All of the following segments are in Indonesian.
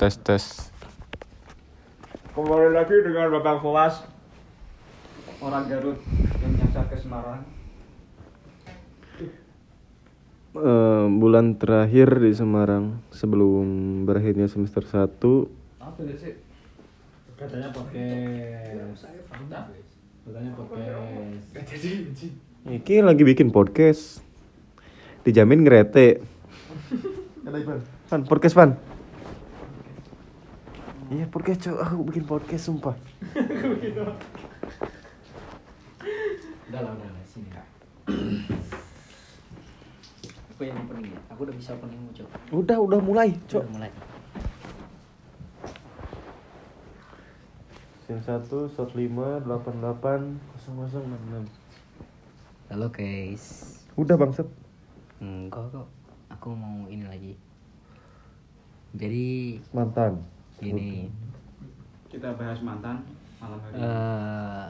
Tes tes. Kembali lagi dengan Bapak Fuas Orang Garut yang nyasar ke Semarang Eh, bulan terakhir di Semarang sebelum berakhirnya semester 1 Apa itu sih? katanya podcast katanya podcast Iki lagi bikin podcast Dijamin ngerete Pan, podcast pan Iya podcast cok, aku bikin podcast sumpah udah lah udah lah sini Aku yang opening ya. Aku udah bisa opening mau coba. Udah, udah mulai cok Udah mulai. Scene 1, shot 5, 88, 0066 Halo guys. Udah bangset Enggak kok. Aku mau ini lagi. Jadi Mantan gini. Kita bahas mantan malam hari ini eh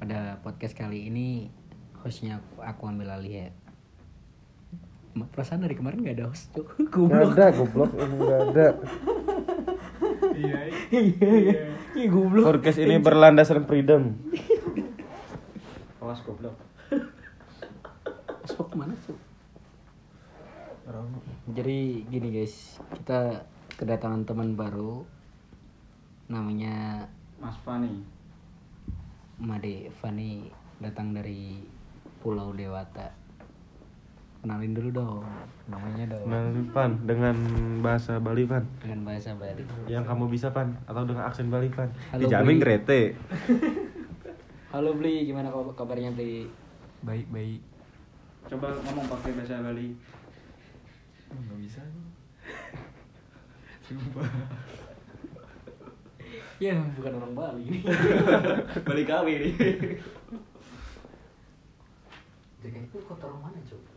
pada podcast kali ini hostnya aku, aku ambil alih ya. Ma- Perasaan dari kemarin gak ada host tuh. Gak Goblok. ada goblok, emang gak ada Iya Iya, iya. goblok. Podcast ini berlandaskan freedom Fuas goblok Spok kemana tuh? Jadi gini guys, kita kedatangan teman baru namanya Mas Fani Made Fani datang dari Pulau Dewata. Kenalin dulu dong namanya dong Kenalin Pan dengan bahasa Bali Pan dengan bahasa Bali. yang kamu bisa Pan atau dengan aksen Bali Pan Halo, dijamin Bali. kerete Halo Bli, gimana kau- kabarnya Bli? baik baik Coba ngomong pakai bahasa Bali nggak bisa Ya, bukan orang Bali ini. Bali kawi nih Jadi itu kota orang mana, coba?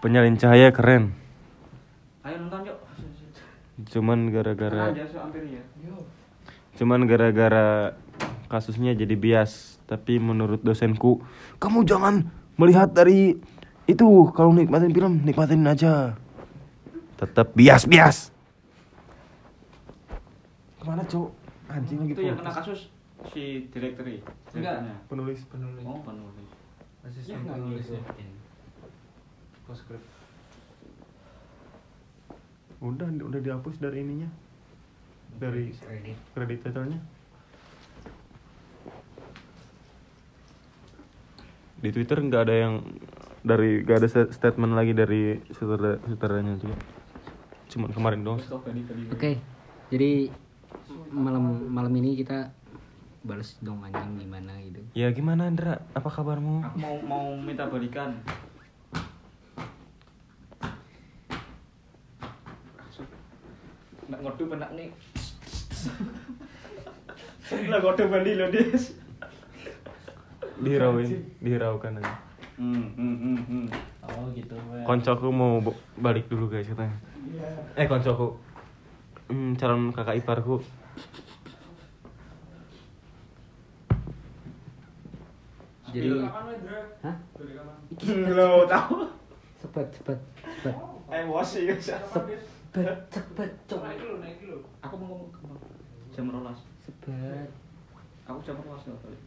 penyalin cahaya keren Ayo nonton yuk cuman Karena gara-gara jasa hampir ya cuman gara-gara kasusnya jadi bias tapi menurut dosenku kamu jangan melihat dari itu kalau nikmatin film nikmatin aja tetap bias bias kemana cok anjing lagi Itu yang kena podcast. kasus si direktori Enggak. Direkturnya. penulis Oh penulis gitu. asisten nggak penulis ya ngikutin. udah udah dihapus dari ininya dari Kredit. kreditornya di Twitter nggak ada yang dari nggak ada sta- statement lagi dari sutradara sutradaranya juga cuman kemarin doang Terus kau Bali-Bali. Oke, jadi malam malam ini kita balas dong anjing gimana gitu. ya gimana Andra apa kabarmu Aku mau mau minta balikan Nak ngodu penak nih Lah ngodu Bali loh Des dihirauin dihiraukan aja Hmm, hmm, hmm, hmm. oh gitu Pak. koncoku mau bo- balik dulu guys katanya eh koncoku hmm, calon kakak iparku Jadi Iya, Hah? Lo tau? Cepat, cepat, cepat. Emosi ya. Cepat, cepat, coba. Aku mau ngomong kembang. Jam rolas. Cepat. Aku jam rolas nggak balik.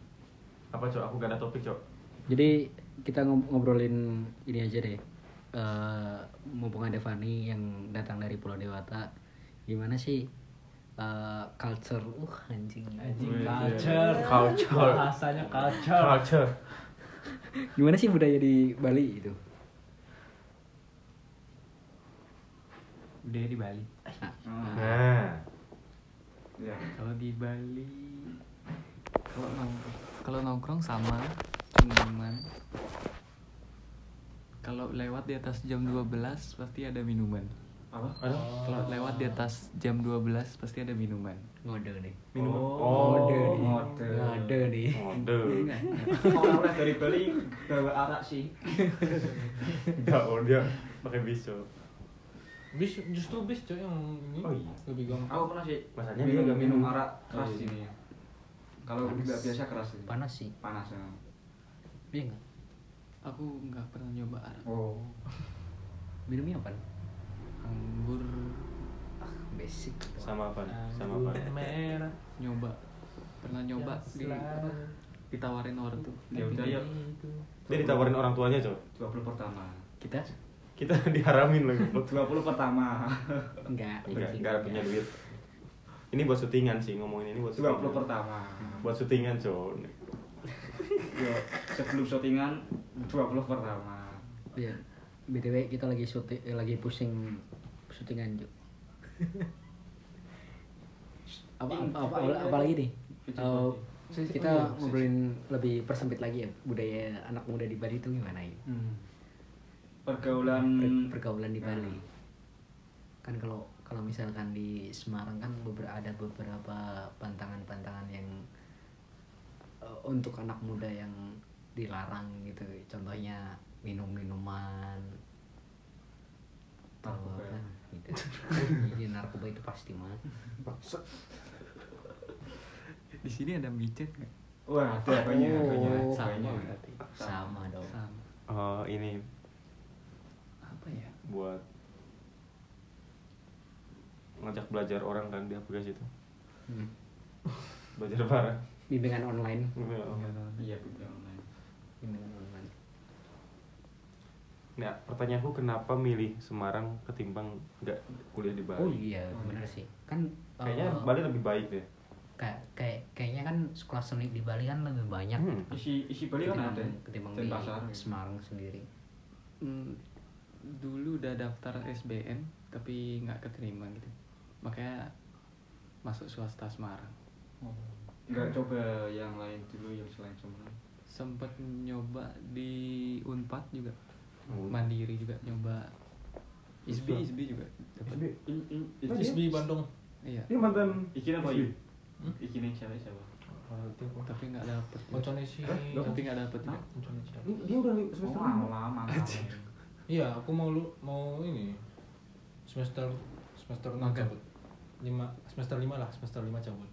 apa cok aku gak ada topik cok Jadi kita ngob- ngobrolin ini aja deh. Eh, mumpung ada Fani yang datang dari Pulau Dewata, gimana sih eh, culture? Uh, anjing. anjing Wih, iya. culture Culture. bahasanya culture culture Gimana sih budaya di Bali itu? udah di Bali Hmm. nah Iya. kalau di Bali kalau nongkrong kalau nongkrong sama minuman kalau lewat di atas jam 12 pasti ada minuman Apa? kalau lewat di atas jam 12 pasti ada minuman Ngode nih. minuman Oh, Ngode nih. ngode. Ngode nih. Aduh. Orang-orang oh, dari Bali bawa arak sih. Enggak, oh dia pakai bisu. bis justru bis coy yang ini Oh iya. lebih gampang Aku pernah sih. Masanya minum dia nggak minum minum. arak keras ini. Kalau Panas. di nggak biasa keras sih. panas sih Panas. Ya. iya nggak Aku nggak pernah nyoba Arab. Oh. minumnya apa Anggur basic Sama apa? Sama apa? Anggur merah nyoba. Pernah nyoba Yang di apa? selalu Ditawarin orang tuh. Ya udah yuk. itu. Dia ditawarin orang tuanya coba. 20 pertama. kita Kita diharamin lagi. 20 pertama. enggak Enggak, anjing, enggak punya duit. Ini buat syutingan sih ngomongin ini buat 20 syutingan. pertama. Buat syutingan coba. Yo, sebelum syutingan 20 pertama. Iya. btw kita lagi syuting eh, lagi pusing syutingan Ju. apa apa, apa, apa, apa lagi nih Eh, kita ngobrolin lebih persempit lagi ya budaya anak muda di Bali itu gimana ya Hmm. Pergaulan Per- pergaulan di Bali kan kalau kalau misalkan di Semarang kan beberapa ada beberapa pantangan-pantangan yang eh, untuk anak muda yang dilarang gitu contohnya minum minuman atau Narkoba. apa gitu jadi narkoba itu pasti mah Di sini ada micet nggak? Wah, ada banyak, Oh, banyak, sama banyak. berarti. sama dong Sama. Oh, ini Apa ya? buat ngajak belajar orang kan di aplikasi itu. Hmm. Belajar parah. bimbingan online Iya, betul. Nah. bimbingan online Nah, pertanyaanku kenapa milih Semarang ketimbang nggak kuliah di Bali? oh iya benar sih kan eh, Kayaknya Bali lebih baik deh. kayak kayak kayaknya kan sekolah seni di Bali kan lebih banyak Hmm. Isi isi Bali kan ketimbang, ada. ketimbang di Denpasar. Semarang sendiri Hmm, dulu udah daftar SBM tapi nggak keterima gitu. Makanya masuk swasta Semarang. Enggak coba yang lain dulu yang selain Semarang. Sempet nyoba di Unpad juga. Oh. Mandiri juga nyoba. ISBI ISBI juga. dapat. In, in, in, Isbi Bandung. Iya. Ini mantan Ikin Hmm? apa Isbi. yuk? Ikin yang siapa siapa? Tapi nggak dapet. juga. Bocornya sih. Tapi nggak dapet juga. Bocornya siapa? Dia udah Oh, lama, lama. Iya, aku mau lu mau ini semester semester enam Magang. cabut. Lima semester lima lah, semester lima cabut.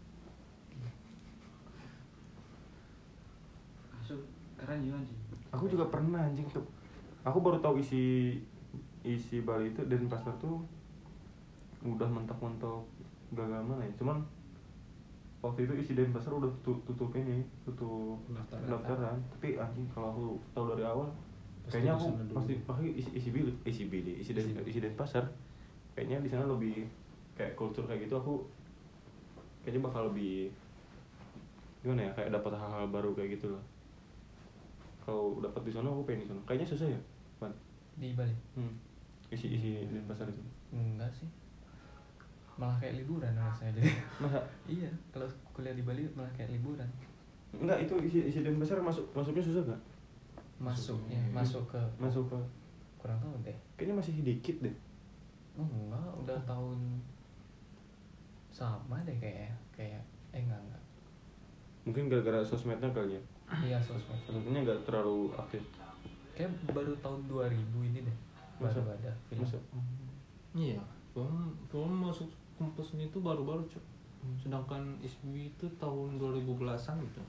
Masuk keren ya, juga sih. Aku juga pernah anjing tuh. Aku baru tahu isi isi Bali itu dan pasar tuh udah mentok-mentok gagal mana ya. Cuman waktu itu isi Denpasar udah tu- tutup ini, tutup Pendaftaran. pendaftaran. Tapi anjing kalau aku tahu dari awal Pasti kayaknya di aku sana dulu. pasti pasti isi isi Bali, isi Bali, isi, Den, Isi- isi Denpasar. Kayaknya di sana lebih kayak kultur kayak gitu aku kayaknya bakal lebih gimana ya kayak dapat hal-hal baru kayak gitu loh kalau dapat di sana aku pengen di sana kayaknya susah ya pan Di Bali? hmm. isi isi di pasar itu Enggak sih. Malah kayak liburan rasanya jadi. masa iya, kalau kuliah di Bali malah kayak liburan. enggak itu isi isi di pasar masuk masuknya susah gak Masuknya, masuk ke masuk ke kurang tahu deh. kayaknya masih dikit deh Oh, enggak, udah tahun sama deh kayaknya. Kayak eh enggak enggak. mungkin gara-gara sosmednya kali ya Iya, sosmed. sosmednya nggak terlalu aktif Kayak baru tahun 2000 ini deh. Masa? Baru ada film. masa Iya, film film masuk kampus ini tuh baru-baru Cuk. Sedangkan ISBI itu tahun 2010-an gitu.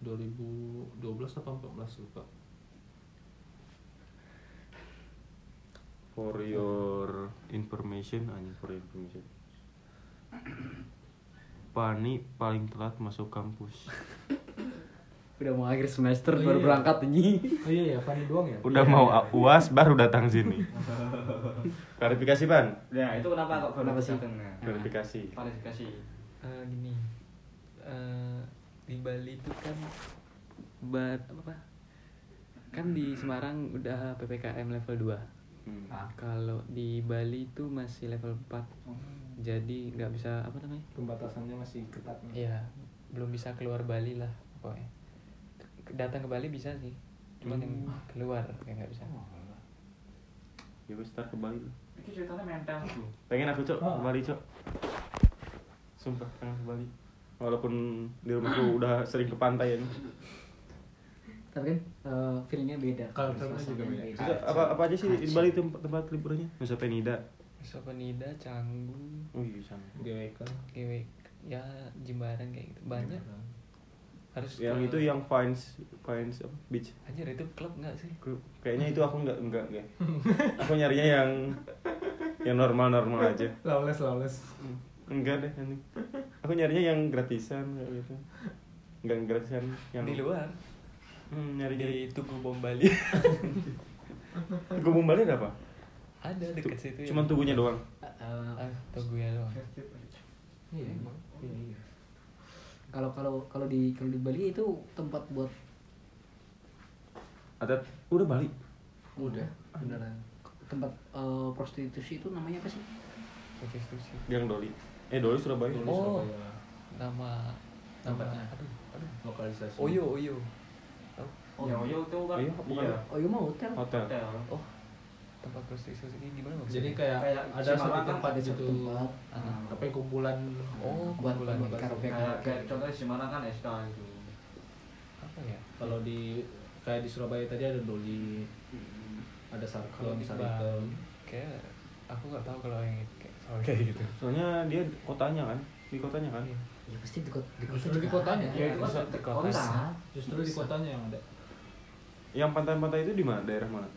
2012 atau 14 lupa. for your information anjing for your information Pani paling telat masuk kampus udah mau akhir semester Oh, baru iya. berangkat nih Oh iya ya, Fani doang ya? Udah mau uas baru datang sini. Klarifikasi ban, Ya, itu kenapa kok baru Kenapa sih? datang? Nah, klarifikasi. Klarifikasi. Eh, gini eh di Bali itu kan bat apa kan di Semarang udah ppkm level 2 kalau di Bali itu masih level 4 jadi nggak bisa apa namanya Pembatasannya masih ketat nih. ya belum bisa keluar Bali lah pokoknya Ke- datang ke Bali bisa sih cuman yang keluar yang nggak bisa Ya wes ntar ke Bali lah. Ini ceritanya mental tuh. Pengen aku cok Ah. ke Bali cok. Sumpah pengen ke Bali. Walaupun di rumahku udah sering ke pantai ya. tapi kan eh, feelingnya beda Kalau filmnya Suasananya juga beda. Bisa, Ah, apa apa aja sih di Bali tempat, tempat liburannya? Nusa Penida. Nusa Penida Canggu Oh iya sama. GWK. GW ya Jimbaran kayak gitu banyak Gimana? harus yang ke- itu yang Vines Vines apa? Beach anjir itu klub nggak sih Group. Kayaknya itu aku nggak nggak nggak. Aku nyarinya yang yang normal normal aja. Hmm, Lawless, lawless. Enggak deh anjing. Aku nyarinya yang gratisan kayak gitu. Enggak yang gratisan yang di luar Hmm, nyari nyari. di Tugu Bom Bali Gue mau balik ada apa? ada dekat situ ya. Cuman tubuhnya doang. Eh, ah, Tugu ya doang Iya Hmm. emang. Kalau kalau kalau di kalau di Bali itu tempat buat Ada udah balik. udah beneran tempat eh, prostitusi itu namanya apa sih? prostitusi Yang Doli. Eh Doli Surabaya. Doli Oh. Oh. Surabaya. nama nama Namanya. aduh aduh Lokalisasi. Oyo Oyo Tahu? Ya, Oyo itu kan. Iya, bukan. Iya. Oh, iya mah hotel. Hotel. Hotel. oh tempat prostitusi ini gimana Jadi maksudnya kayak, Kayak ada Semarang satu kan tempat ada gitu. satu tempat. Ah. Tapi kumpulan oh buat kumpulan buat buat- karaoke Kayak karaoke. kayak contohnya di mana kan SK gitu. apa ya kalau di kayak di Surabaya tadi ada Doli, ada kalau Sarkem, di Saritem. Bali kayak aku nggak tahu kalau yang kayak soal kayak gitu Soalnya dia kotanya kan, di kotanya kan. Ya pasti di kota di kota Justru di juga kotanya. ada. Iya, itu kan di kota. kota. Justru di kotanya yang ada. Yang pantai-pantai itu di mana? Daerah mana?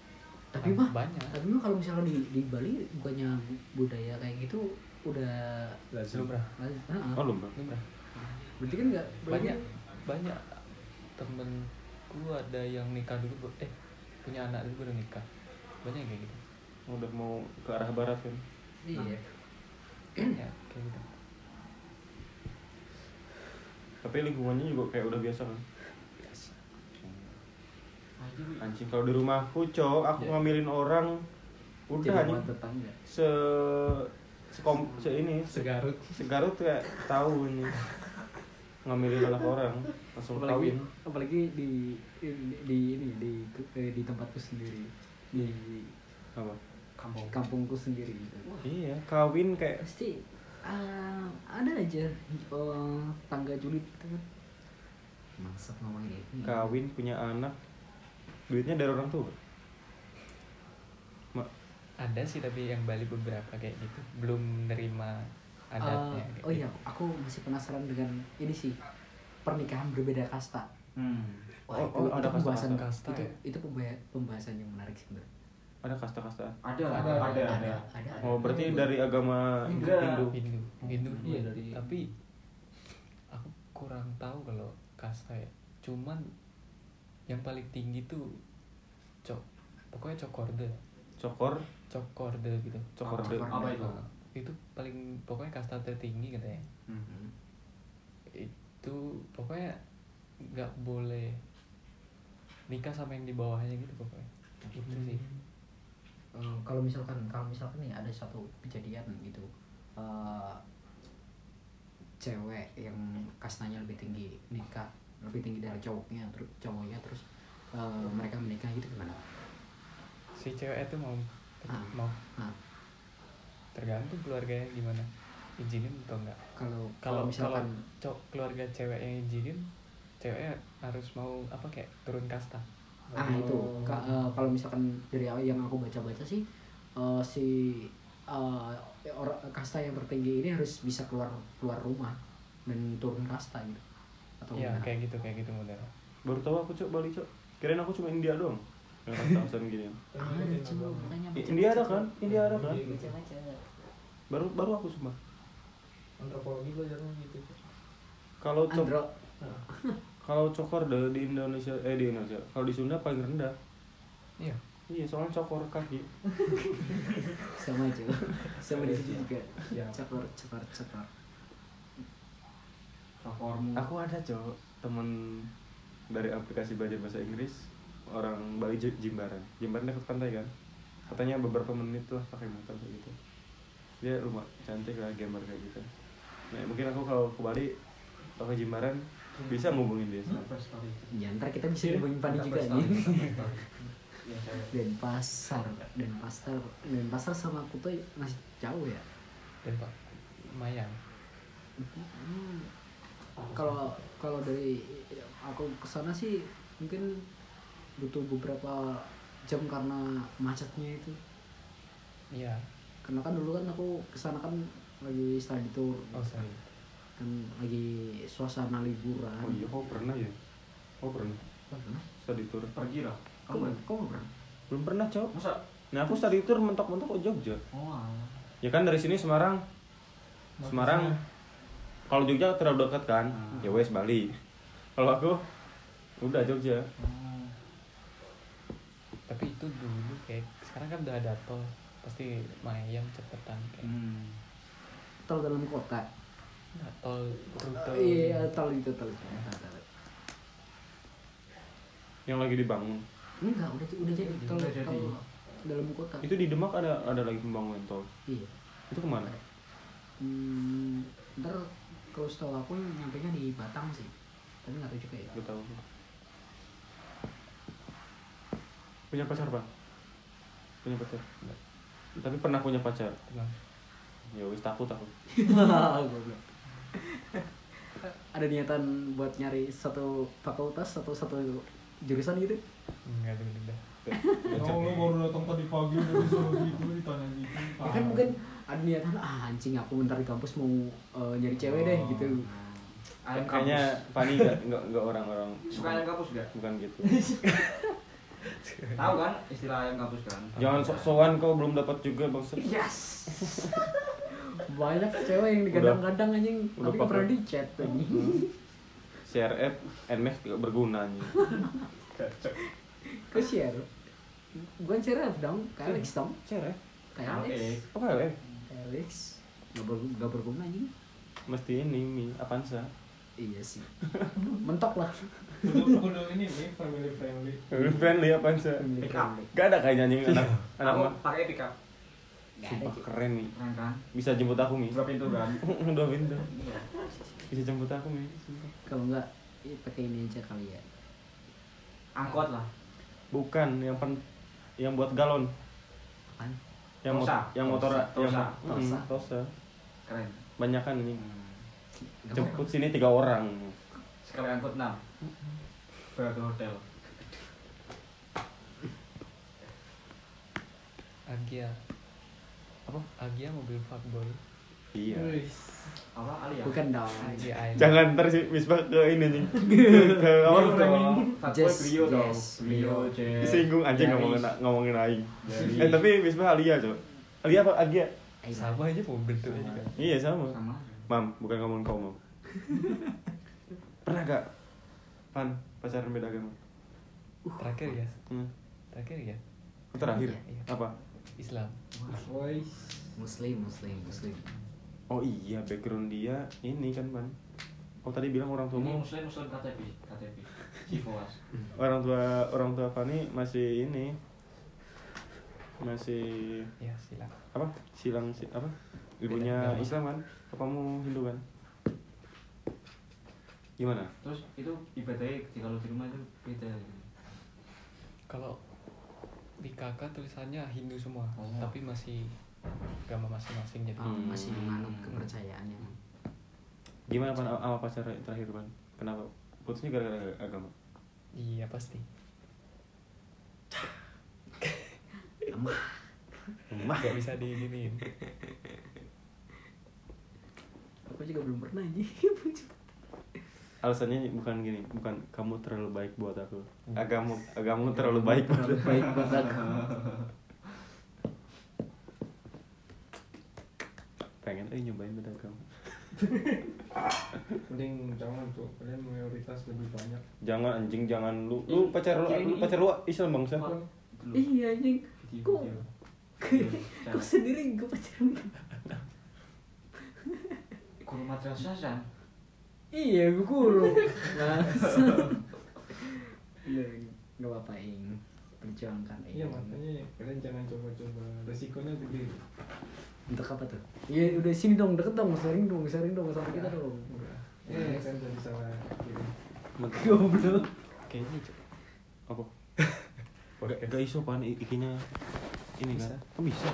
Tapi mah Banyak. Tapi mah kalau misalnya di di Bali bukannya budaya kayak gitu udah Lazim. lumrah Heeh. Oh, Lumba. lumrah Berarti kan enggak banyak banyak temenku ada yang nikah dulu baru- eh punya anak dulu baru nikah banyak yang kayak gitu Udah mau ke arah barat kan. Iya. Ya, banyak kayak gitu Tapi lingkungannya juga kayak udah biasa kan. biasa Anjing kalau di rumahku, cowok, aku ngambilin orang udah Jadi anjing buat tetangga. se sekom se ini se- Segarut. segarut kayak tahu ini ngambilin anak orang langsung apalagi kawin apalagi di di, di ini di eh, di tempatku sendiri di apa kampung kampungku sendiri gitu iya kawin kayak pasti ah, ada aja oh, tangga julid gitu kan ya. maksud ngomong ini kawin punya anak duitnya dari orang tua Ma- ada sih tapi yang Bali beberapa kayak gitu belum menerima adatnya kayak oh iya gitu. aku masih penasaran dengan ini sih pernikahan berbeda kasta Hmm. Wah, Oh, itu, oh, itu ada pembahasan kasta-kasta itu, ya? itu pembahasan, pembahasan yang menarik sebenarnya ada kasta-kasta Ada, Ada, ada, ada, ada. ada, oh berarti dari agama Enggak. Hindu gitu. Hindu Hindu Iya, dulu. dari- tapi aku kurang tahu kalau kasta ya cuman yang paling tinggi tuh cok pokoknya cokorde cokor cokorde gitu cokorde Cokor. Apa itu? Ah, itu paling pokoknya kasta tertinggi katanya Hmm. itu pokoknya nggak boleh nikah sama yang di bawahnya gitu pokoknya itu sih Eh, kalau misalkan kalau misalkan nih ada satu kejadian gitu eh, cewek yang kastanya lebih tinggi nikah lebih tinggi dari cowoknya terus cowoknya terus eh, mereka menikah gitu gimana si cewek itu mau Ah. mau nah tergantung keluarganya gimana izinin atau enggak kalau kalau kalau misalkan kalau cok keluarga cewek yang izinin cewek harus mau apa kayak turun kasta ah itu Ka- eh, kalau misalkan dari awal yang aku baca baca sih eh, si eh, orang kasta yang tertinggi ini harus bisa keluar keluar rumah dan turun kasta gitu atau ya gimana? kayak gitu kayak gitu modelnya baru tahu aku cok Bali cok kirain aku cuma India doang yang kasta-kastaan gini ada cuma makanya I- India ada kan India ada Iya, kan baca-baca. baru baru aku sumpah Antropologi belajarnya gitu. kalau cok Andro Kalau cokor de- di Indonesia eh di Indonesia, kalau di Sunda paling rendah. iya Iya, soalnya cokor kaki. sama aja sama di situ juga Ya. cekor cekor cekor Sokormu. Aku ada cok temen dari aplikasi belajar bahasa Inggris orang Bali J- Jimbaran. Jimbaran dekat pantai kan. Katanya beberapa menit lah pakai motor kayak gitu. Dia rumah cantik lah gamer kayak gitu. Nah, mungkin aku kalau ke Bali atau ke Jimbaran bisa ngubungin dia. Nah, first story. ya ntar kita bisa ngomongin Fandi Nah, juga first nih story, first story. Iya, cewek. dan pasar dan pasar dan pasar sama Kuto masih jauh ya dari pak lumayan Hmm. kalau kalau dari aku kesana sih mungkin butuh beberapa jam karena macetnya itu iya karena kan dulu kan aku kesana kan lagi study tour oh sorry kan lagi suasana liburan Oh iya, kok pernah ya? Kok pernah? pernah Study tour. pergi lah kok kamu kok nggak pernah Belum pernah, Cok. masa Nah, aku study tour mentok-mentok kok Jogja. oh alah. Ya kan dari sini Semarang. Semarang. Kalau Jogja terlalu dekat kan? Ya wes Bali. Kalau aku udah Jogja. Oh. tapi itu dulu kayak sekarang kan udah ada tol pasti mayang cepetan kayak Hmm. tol dalam kota Nah, tol rute iya tol itu tol itu. Tol, tol. Yang lagi dibangun. enggak udah udah jadi tol Udah jadi. tol dalam kota Itu di Demak ada ada lagi pembangunan tol. iya Itu kemana? Hmm, ntar kalau setahu aku nyampe nya di Batang sih tapi nggak tahu juga ya Gak tahu. Punya pacar bang? Punya pacar? Tapi pernah punya pacar. Tenang. Ya wis takut aku. Goblok. ada niatan buat nyari satu fakultas atau satu jurusan gitu enggak dulu dah Oh, Tahu lu baru datang tadi pagi udah disuruh gitu ditanya gitu. ya kan mungkin ada niatan ah anjing aku bentar di kampus mau eh, nyari cewek deh gitu Ayam Kayaknya Fani nggak nggak nggak orang-orang Suka ayam kampus gak? bukan gitu. Tahu kan istilah ayam kampus kan? Jangan sok-sokan kau belum dapat juga bangsa. yes banyak cewek yang digadang-gadang anjing Udah tapi nggak pernah pakai. di chat anjing CRF, NMAX nggak berguna nih. ke share gue share dong kayak Alex dong CRF? kayak Alex Alex. Apa ya? Kayak Alex nggak berguna nggak berguna anjing Mesti ini mi Avanza. iya sih mentok lah Kudu kudu ini nih family friendly. Lebih friendly Avanza. Iya. Pick up. Gak ada kayaknya anjing anak anak Aku mah. pakai pick up. Gak ada Sumpah Cik. keren nih. Keren kan? Bisa jemput aku mi. Dua pintu kan? Dua pintu. Bisa jemput aku mi. Sumpah. kalau nggak ya pakai ini aja kali ya Angkot lah. Bukan yang pen, yang buat galon. Apaan? Yang mot- Tosa. yang motor Tosa. Tosa. yang Tosa. Mm, tosa. Keren. Hmm. Banyak kan anjing. Nggak Jemput sini tiga orang. Sekali angkot 6. Bayar ke hotel. Agia Apa? Agia mobil fuckboy Iya. Apa ya? Alia? bukan dong Agia Ain Jangan ntar si Misbah ke ini anjing. Ke- Ke kamar dong. Fuckboy Jazz, Iya, Brio dong. jazz, Brio, Iya. Brio. Jazz. Disinggung anjing Jaris. ngomongin ngomongin aing. Jaris. Eh tapi Misbah Alia, Cok. Alia apa Agia? Ayo. sama aja mobil tuh Sama. juga Iya sama. Sama. Mam, bukan ngomong kau, Mam. Pernah gak? Pan, pacaran beda agama. terakhir ya Hmm. terakhir ya Terakhir, Iya. apa? Islam muslim muslim muslim Oh iya, background dia ini kan, Pan. Kau tadi bilang orang Ini Iya. tuamu, muslim muslim KTP, KTP. Sifoas. orang tua orang tua Fani masih ini masih ya silakan apa silang si, apa ibunya agama. Islam kan papamu Hindu kan gimana Terus itu ibadahnya ketika lu di rumah itu beda. kalau di kakak tulisannya Hindu semua Oh. tapi masih agama masing-masing jadi Oh, Hmm. masih menganut kepercayaannya gimana pan sama pacar terakhir pan kenapa putusnya gara-gara agama iya pasti Emah. nggak bisa diginiin aku juga belum pernah anjing alasannya bukan gini bukan kamu terlalu baik buat aku Hmm. agamu agamu terlalu baik buat terlalu aku. baik buat aku pengen eh nyobain beda agama Mending jangan tuh, kalian mayoritas lebih banyak. jangan anjing jangan lu lu pacar lu lu pacar lu Islam bangsa Dulu. iya anjing Video, kok video. kok sendiri gue pacaran Guru madrasah kan? iya gue guru nah Iya, nggak apa-apa ing perjuangkan Iya Ing. Hmm. makanya kalian jangan coba-coba resikonya gede. untuk apa tuh ya udah sini dong deket dong sharing dong sharing dong sama kita dong Enggak. Hmm. Eh kan jadi salah kirim. goblok kayaknya cok apa Gak- gak iso pan i- ikinya ini kan kok bisa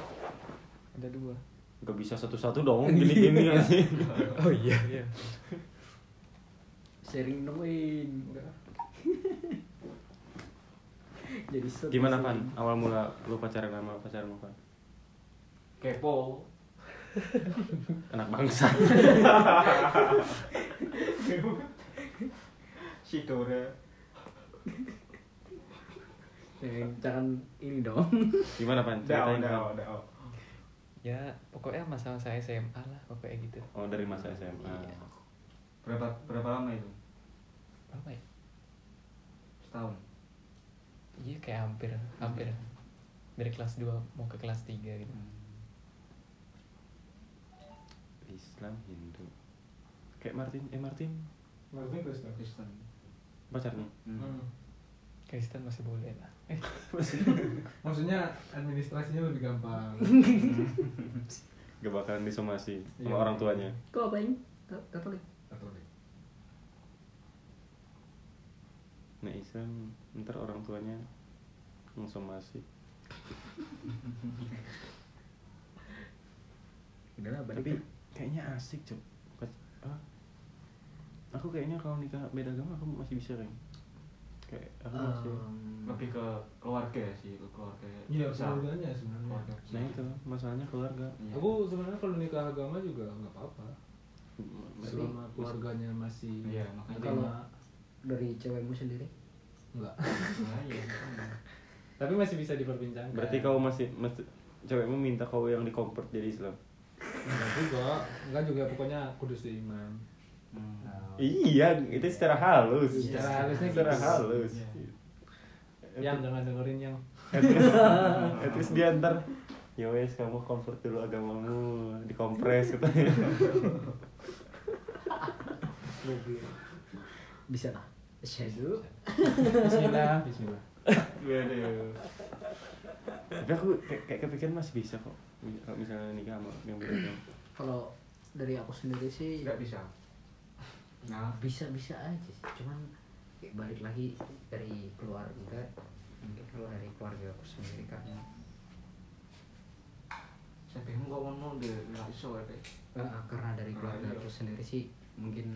ada dua gak bisa satu-satu dong gini-gini kan oh iya iya sharing dong ing Enggak. jadi set- gimana pan awal mula lu pacaran sama pacarmu pan Kepo. anak bangsa si Dora Eh, jangan ini dong gimana pan dao ceritain dao Pan. dao ya pokoknya masa-masa SMA lah pokoknya gitu oh dari masa SMA Iya. berapa berapa lama itu apa ya setahun iya kayak hampir hampir dari kelas 2 mau ke kelas 3 gitu Islam Hindu kayak Martin eh Martin Maksudnya Kristen. Kristen pacarnya hmm. Kristen masih boleh lah Eh, Maksudnya administrasinya lebih gampang. gak bakalan disomasi sama Iya. orang tuanya kok apa ini Ka- katolik Katolik. nah Islam ntar orang tuanya ngesomasi udah lah balik tapi kayaknya asik cok Pas- ah. aku kayaknya kalau nikah beda agama aku masih bisa kayak kayak aku masih Ehm, lebih ke keluarga sih ke keluarga Iya, besar. keluarganya sebenarnya. Keluarga besar. nah itu masalahnya keluarga Iya. Aku sebenarnya kalau nikah agama juga nggak apa-apa. Berarti- Selama keluarganya masih Iya, makanya agama dari cewekmu sendiri enggak. Nah, iya. Tapi masih bisa diperbincangkan. berarti kau masih mas- cewekmu minta kau yang di convert jadi Islam enggak juga. Enggak juga pokoknya kudus seiman. Hmm. Nah, iya itu secara halus Secara halusnya secara gitu. halus Iya. yang jangan dengerin yang at least, at least dia ntar ya wes kamu convert dulu agamamu dikompres gitu. katanya goblok. bisa lah Asyhadu. Bismillah, bismillah. Iya, Waduh. tapi aku kayak, kayak kepikiran masih bisa kok kalau misalnya nikah sama yang beda agama kalau dari aku sendiri sih nggak bisa nah bisa bisa Ah, aja sih cuman kayak balik lagi dari keluarga Kayak kalau dari keluarga aku sendiri kan sampai nggak mau deh nggak iso ya Teh. Eh, karena dari Ah, keluarga iya. aku sendiri sih mungkin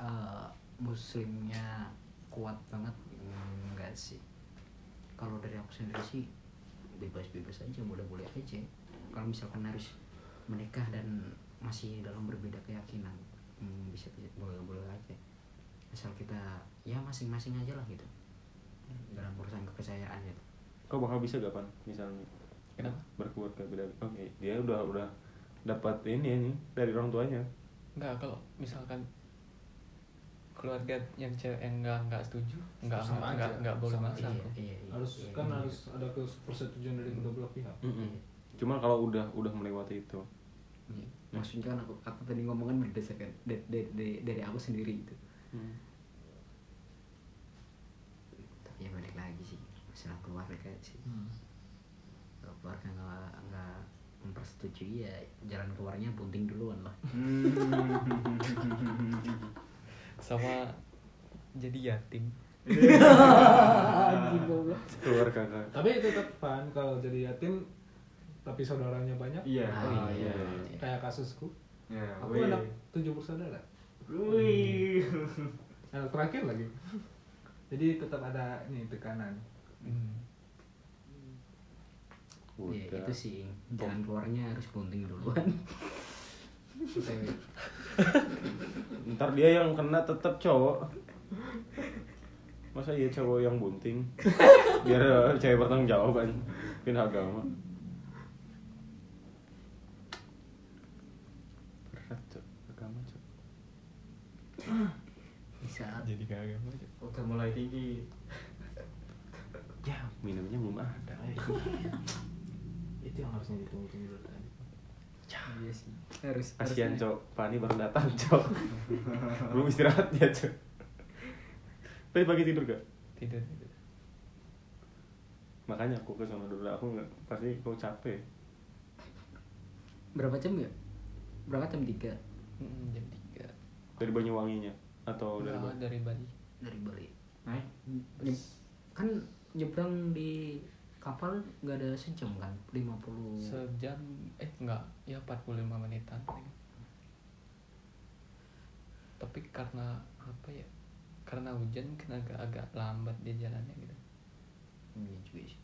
eh, muslimnya kuat banget enggak sih kalau dari aku sendiri sih bebas-bebas aja boleh-boleh aja kalau misalkan harus menikah dan masih dalam berbeda keyakinan hmm, bisa bisa- boleh-boleh aja asal kita ya masing-masing aja lah gitu Hmm. dalam urusan kepercayaan gitu kau bakal bisa gak pan misalnya Kenapa? berkeluarga beda oke dia udah udah dapat ini nih dari orang tuanya enggak kalau misalkan keluarga yang cewek yang enggak enggak setuju enggak Sama enggak aja. enggak, enggak boleh Sama maksa iya, iya, iya, Harus iya, kan iya. harus ada kes- persetujuan dari kedua belah pihak. Mm-mm. cuma kalau udah udah melewati itu Iya. maksudnya kan aku aku tadi ngomong kan berdasarkan dari dari, dari, dari aku sendiri gitu Hmm. tapi ya balik lagi sih masalah keluarga sih Hmm. kalau keluarga nggak nggak mempersetujui ya jalan keluarnya bunting duluan lah Hmm, sama jadi yatim keluar kakak Tapi tetap fun kalau jadi yatim tapi saudaranya banyak. iya Ah, iya Kayak kasusku. iya Aku wih. anak tujuh bersaudara. wih Anak terakhir lagi. Jadi tetap ada nih tekanan. Hmm. ya udah itu sih jalan keluarnya harus bunting duluan Otw. ntar dia yang kena tetep cowok masa iya cowok yang bunting biar eh, cewek bertanggung jawab kan mungkin agama berat cok agama cok di saat jadi kagak aja Hmm. udah mulai tinggi ya minumnya belum ada Itu yang harusnya ditunggu-tunggu dari tadi. iya sih harus kasihan harus- cok Fani baru datang cok belum istirahat ya cok tadi pagi tidur gak tidur tidur makanya aku ke sana dulu aku nggak pasti kau capek berapa jam ya berapa jam tiga Mm, jam tiga dari Banyuwanginya atau dari Nah, Bali? dari Bali dari Bali naik Nyeb- kan nyebrang di kapal nggak ada sejam kan 50 sejam eh enggak ya 45 menitan tapi karena apa ya karena hujan kan agak-agak lambat dia jalannya gitu Iya juga sih.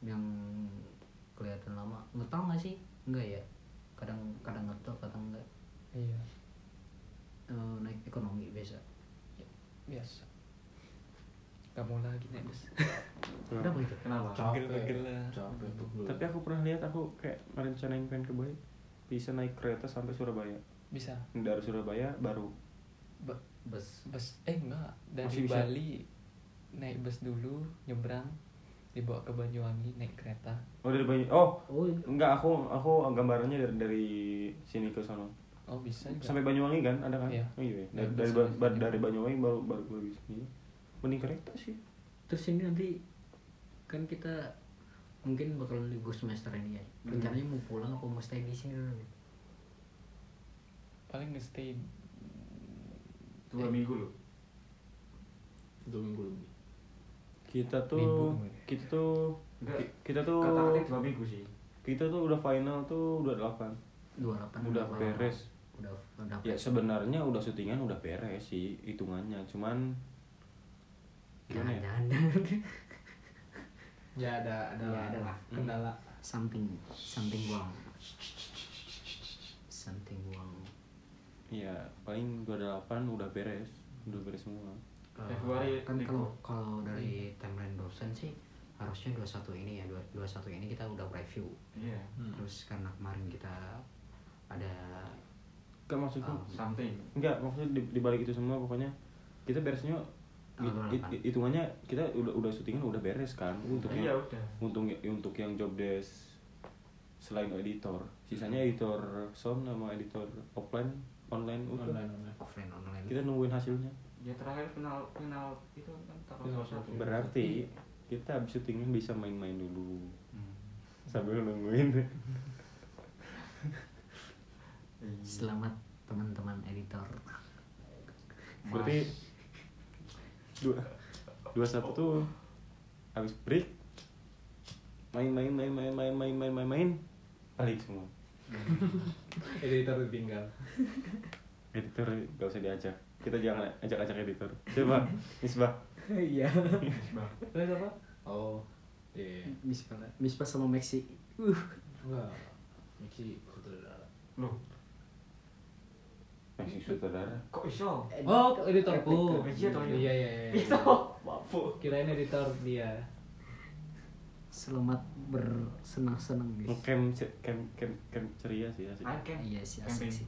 Yang kelihatan lama. Nggak tahu nggak sih? Enggak ya. kadang kadang ngetok kadang enggak iya Eh, naik ekonomi biasa biasa nggak mau lagi naik bus udah mau itu Kenapa? Pegel, pegel lah. Capek, pegel. Tapi aku pernah lihat aku kayak merencanain pengen ke Bali bisa naik kereta sampai Surabaya. bisa Dari Surabaya baru Ba- bus bus eh enggak dari Masih bisa. Bali naik bus dulu nyebrang dibawa ke Banyuwangi naik kereta Oh dari Banyu Oh oh iya. enggak aku aku gambarannya dari, dari sini ke sana oh bisa juga sampai Banyuwangi kan ada kan? Iya. Oh, iya. Dan Dari dari, bisa- Ba- dari Banyuwangi baru baru baru ke sini. Mending kereta sih. terus ini nanti kan kita mungkin bakal libur semester ini ya rencananya mau pulang apa mau stay di sini dulu nih? paling nge-stay Dua minggu loh. Dua minggu lebih. Kita Minggu tuh kemarin. kita tuh Enggak. kita tuh Kata-katanya dua minggu sih. kita tuh udah final tuh udah delapan. 28 Udah apa- beres. udah udah Ya sebenarnya udah syutingan udah beres sih hitungannya, cuman jangan gimana ya? jangan Ya ada ada Ya, ada lah. Hmm. kendala. something something wrong something wrong Iya, paling 28 udah beres, udah beres semua. Eh, Februari kan Nico. kalau kalau dari timeline dosen sih harusnya 21 ini ya 21 ini kita udah preview Iya. terus karena kemarin kita ada Enggak maksudku, Ah. Something. enggak maksudnya di, di balik itu semua pokoknya kita beresnya Tanggal hi- 28. hi- hitungannya kita udah udah syutingan udah beres kan untuk Iya, yang udah. untuk untuk yang job desk selain editor, sisanya editor sound sama editor offline online udah. Online online. offline online Kita nungguin hasilnya. Ya terakhir final final itu kan Final tanggal satu. satu. Berarti Hmm. kita habis syutingnya bisa main-main dulu sambil nungguin. selamat teman-teman editor Berarti dua dua satu tuh habis break main main main main main main main main main balik semua Editor ditinggal. editor gak usah diajak kita jangan ajak ajak editor coba Misbah iya Terus apa? Oh. Iya. mispa mispa sama Maxi uh Enggak. Miki sutradara. Loh, masih sutradara kok iso? Oh, editorku. Iya, toh, iya. Iya, iya, iya. Mabuk. Kirain editor dia. selamat bersenang-senang guys camp camp camp camp ceria sih asik. Oke. iya sih asik sih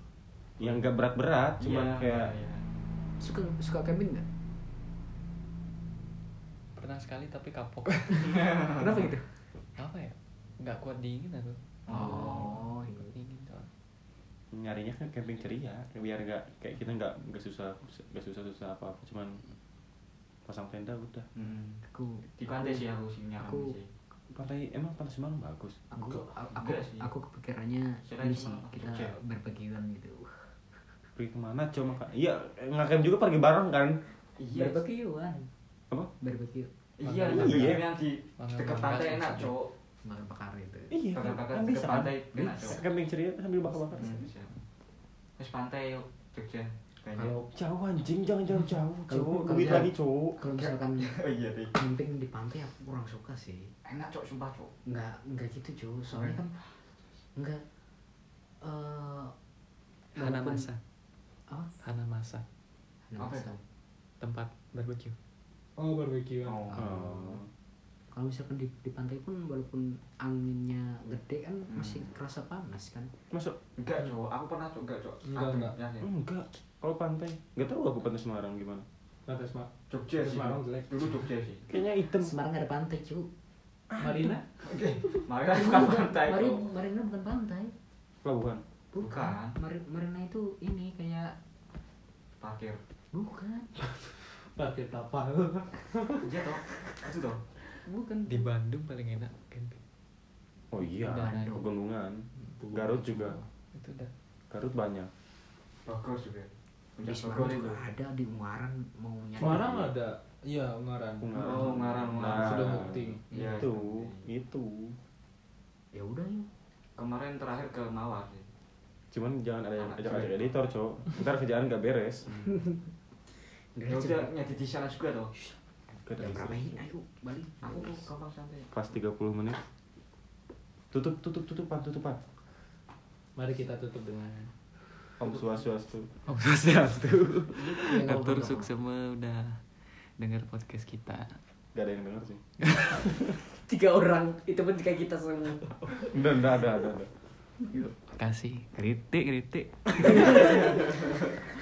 yang gak berat berat cuman Ah. kayak Iya, iya. suka suka camping nggak pernah sekali tapi kapok kenapa gitu apa ya nggak kuat dingin aku oh Nggak kuat dingin soalnya. nyarinya kan camping ceria biar gak kayak kita nggak nggak susah nggak susah susah apa apa cuman pasang tenda udah Hmm. aku Di pantai sih aku sih nyaman aku- sih. pantai emang pantai Semarang bagus aku Enggak, aku enggak sih. aku kepikirannya Kirain ini sih cuma kita Jogja. berpergian gitu Wah, pergi kemana coba kak iya ngakam juga pergi bareng kan Iya. berpergian apa berpergian Iya, Iya. iya. Yang di Bangga dekat bangga pantai sih. enak, Cok. makan bakar itu iya Bakar- kan, bakar kan ke bisa kan? pantai, enak, bisa Cok. camping ceria sambil bakar bakar Hmm, bisa. Terus pantai yuk, Jogja. Kayaknya. kalau jauh anjing jangan jauh jauh Kalau- cowok kalau duit jauh. lagi cowok kalau misalkan Oh iya, deh. camping di pantai aku kurang suka sih Enak, Cok, sumpah, Cok. nggak nggak gitu cuy soalnya kan nggak eh Hana walaupun- Masa apa Hana Masa Hana Apa ya? Masa. itu? tempat barbeque Oh, barbeque. Oh. Oh. kalau misalkan di, di pantai pun walaupun anginnya gede kan Hmm. masih kerasa panas kan masuk Enggak, Cok. Aku pernah, Cok. Enggak, Cok. Enggak, Aku enggak. pernah, ya. enggak kalau pantai nggak tahu aku pantai Semarang gimana Pantai Semarang. Jogja sih. Semarang jelek. Dulu Jogja sih. kayaknya hitam Semarang nggak ada pantai cuy Marina? Oke. Marina bukan pantai, Mari, Cok. Marina bukan pantai pelabuhan Bukan. Bukan. Mari- Marina itu ini kayak Parkir. bukan, Pakai kapal. Iya, Cok. Itu, Cok. bukan. di Bandung paling enak camping oh iya Bandung. pegunungan Garut juga itu udah Garut banyak Bagus juga. Di Puncak Semarang Bogor juga itu. ada di Ungaran mau nyari. Semarang ada. Iya, Ungaran. Ungaran. Oh, Ungaran, Nah. Ungaran. Sudah bukti. Iya, itu Bukti. itu Ya udah yuk. Kemarin terakhir ke Mawar sih. cuman jangan ada yang Anak Hmm. ajak ajak cewek. editor cowok ntar kerjaan gak beres Udah Ya udah cepet. nyadi di sana juga toh. Gak ada Jam berapa isi. ini? Ayo balik. Aku tuh gampang santai. pas 30 menit tutup tutup tutupan tutupan Mari kita tutup dengan Om swastiastu. Om Swastiastu. Iya, Atur ngobrol. Suksema udah denger podcast kita. Gak ada yang denger sih. tiga orang itu pun kayak kita semua Enggak, enggak ada, ada, ada. Kasih kritik, kritik.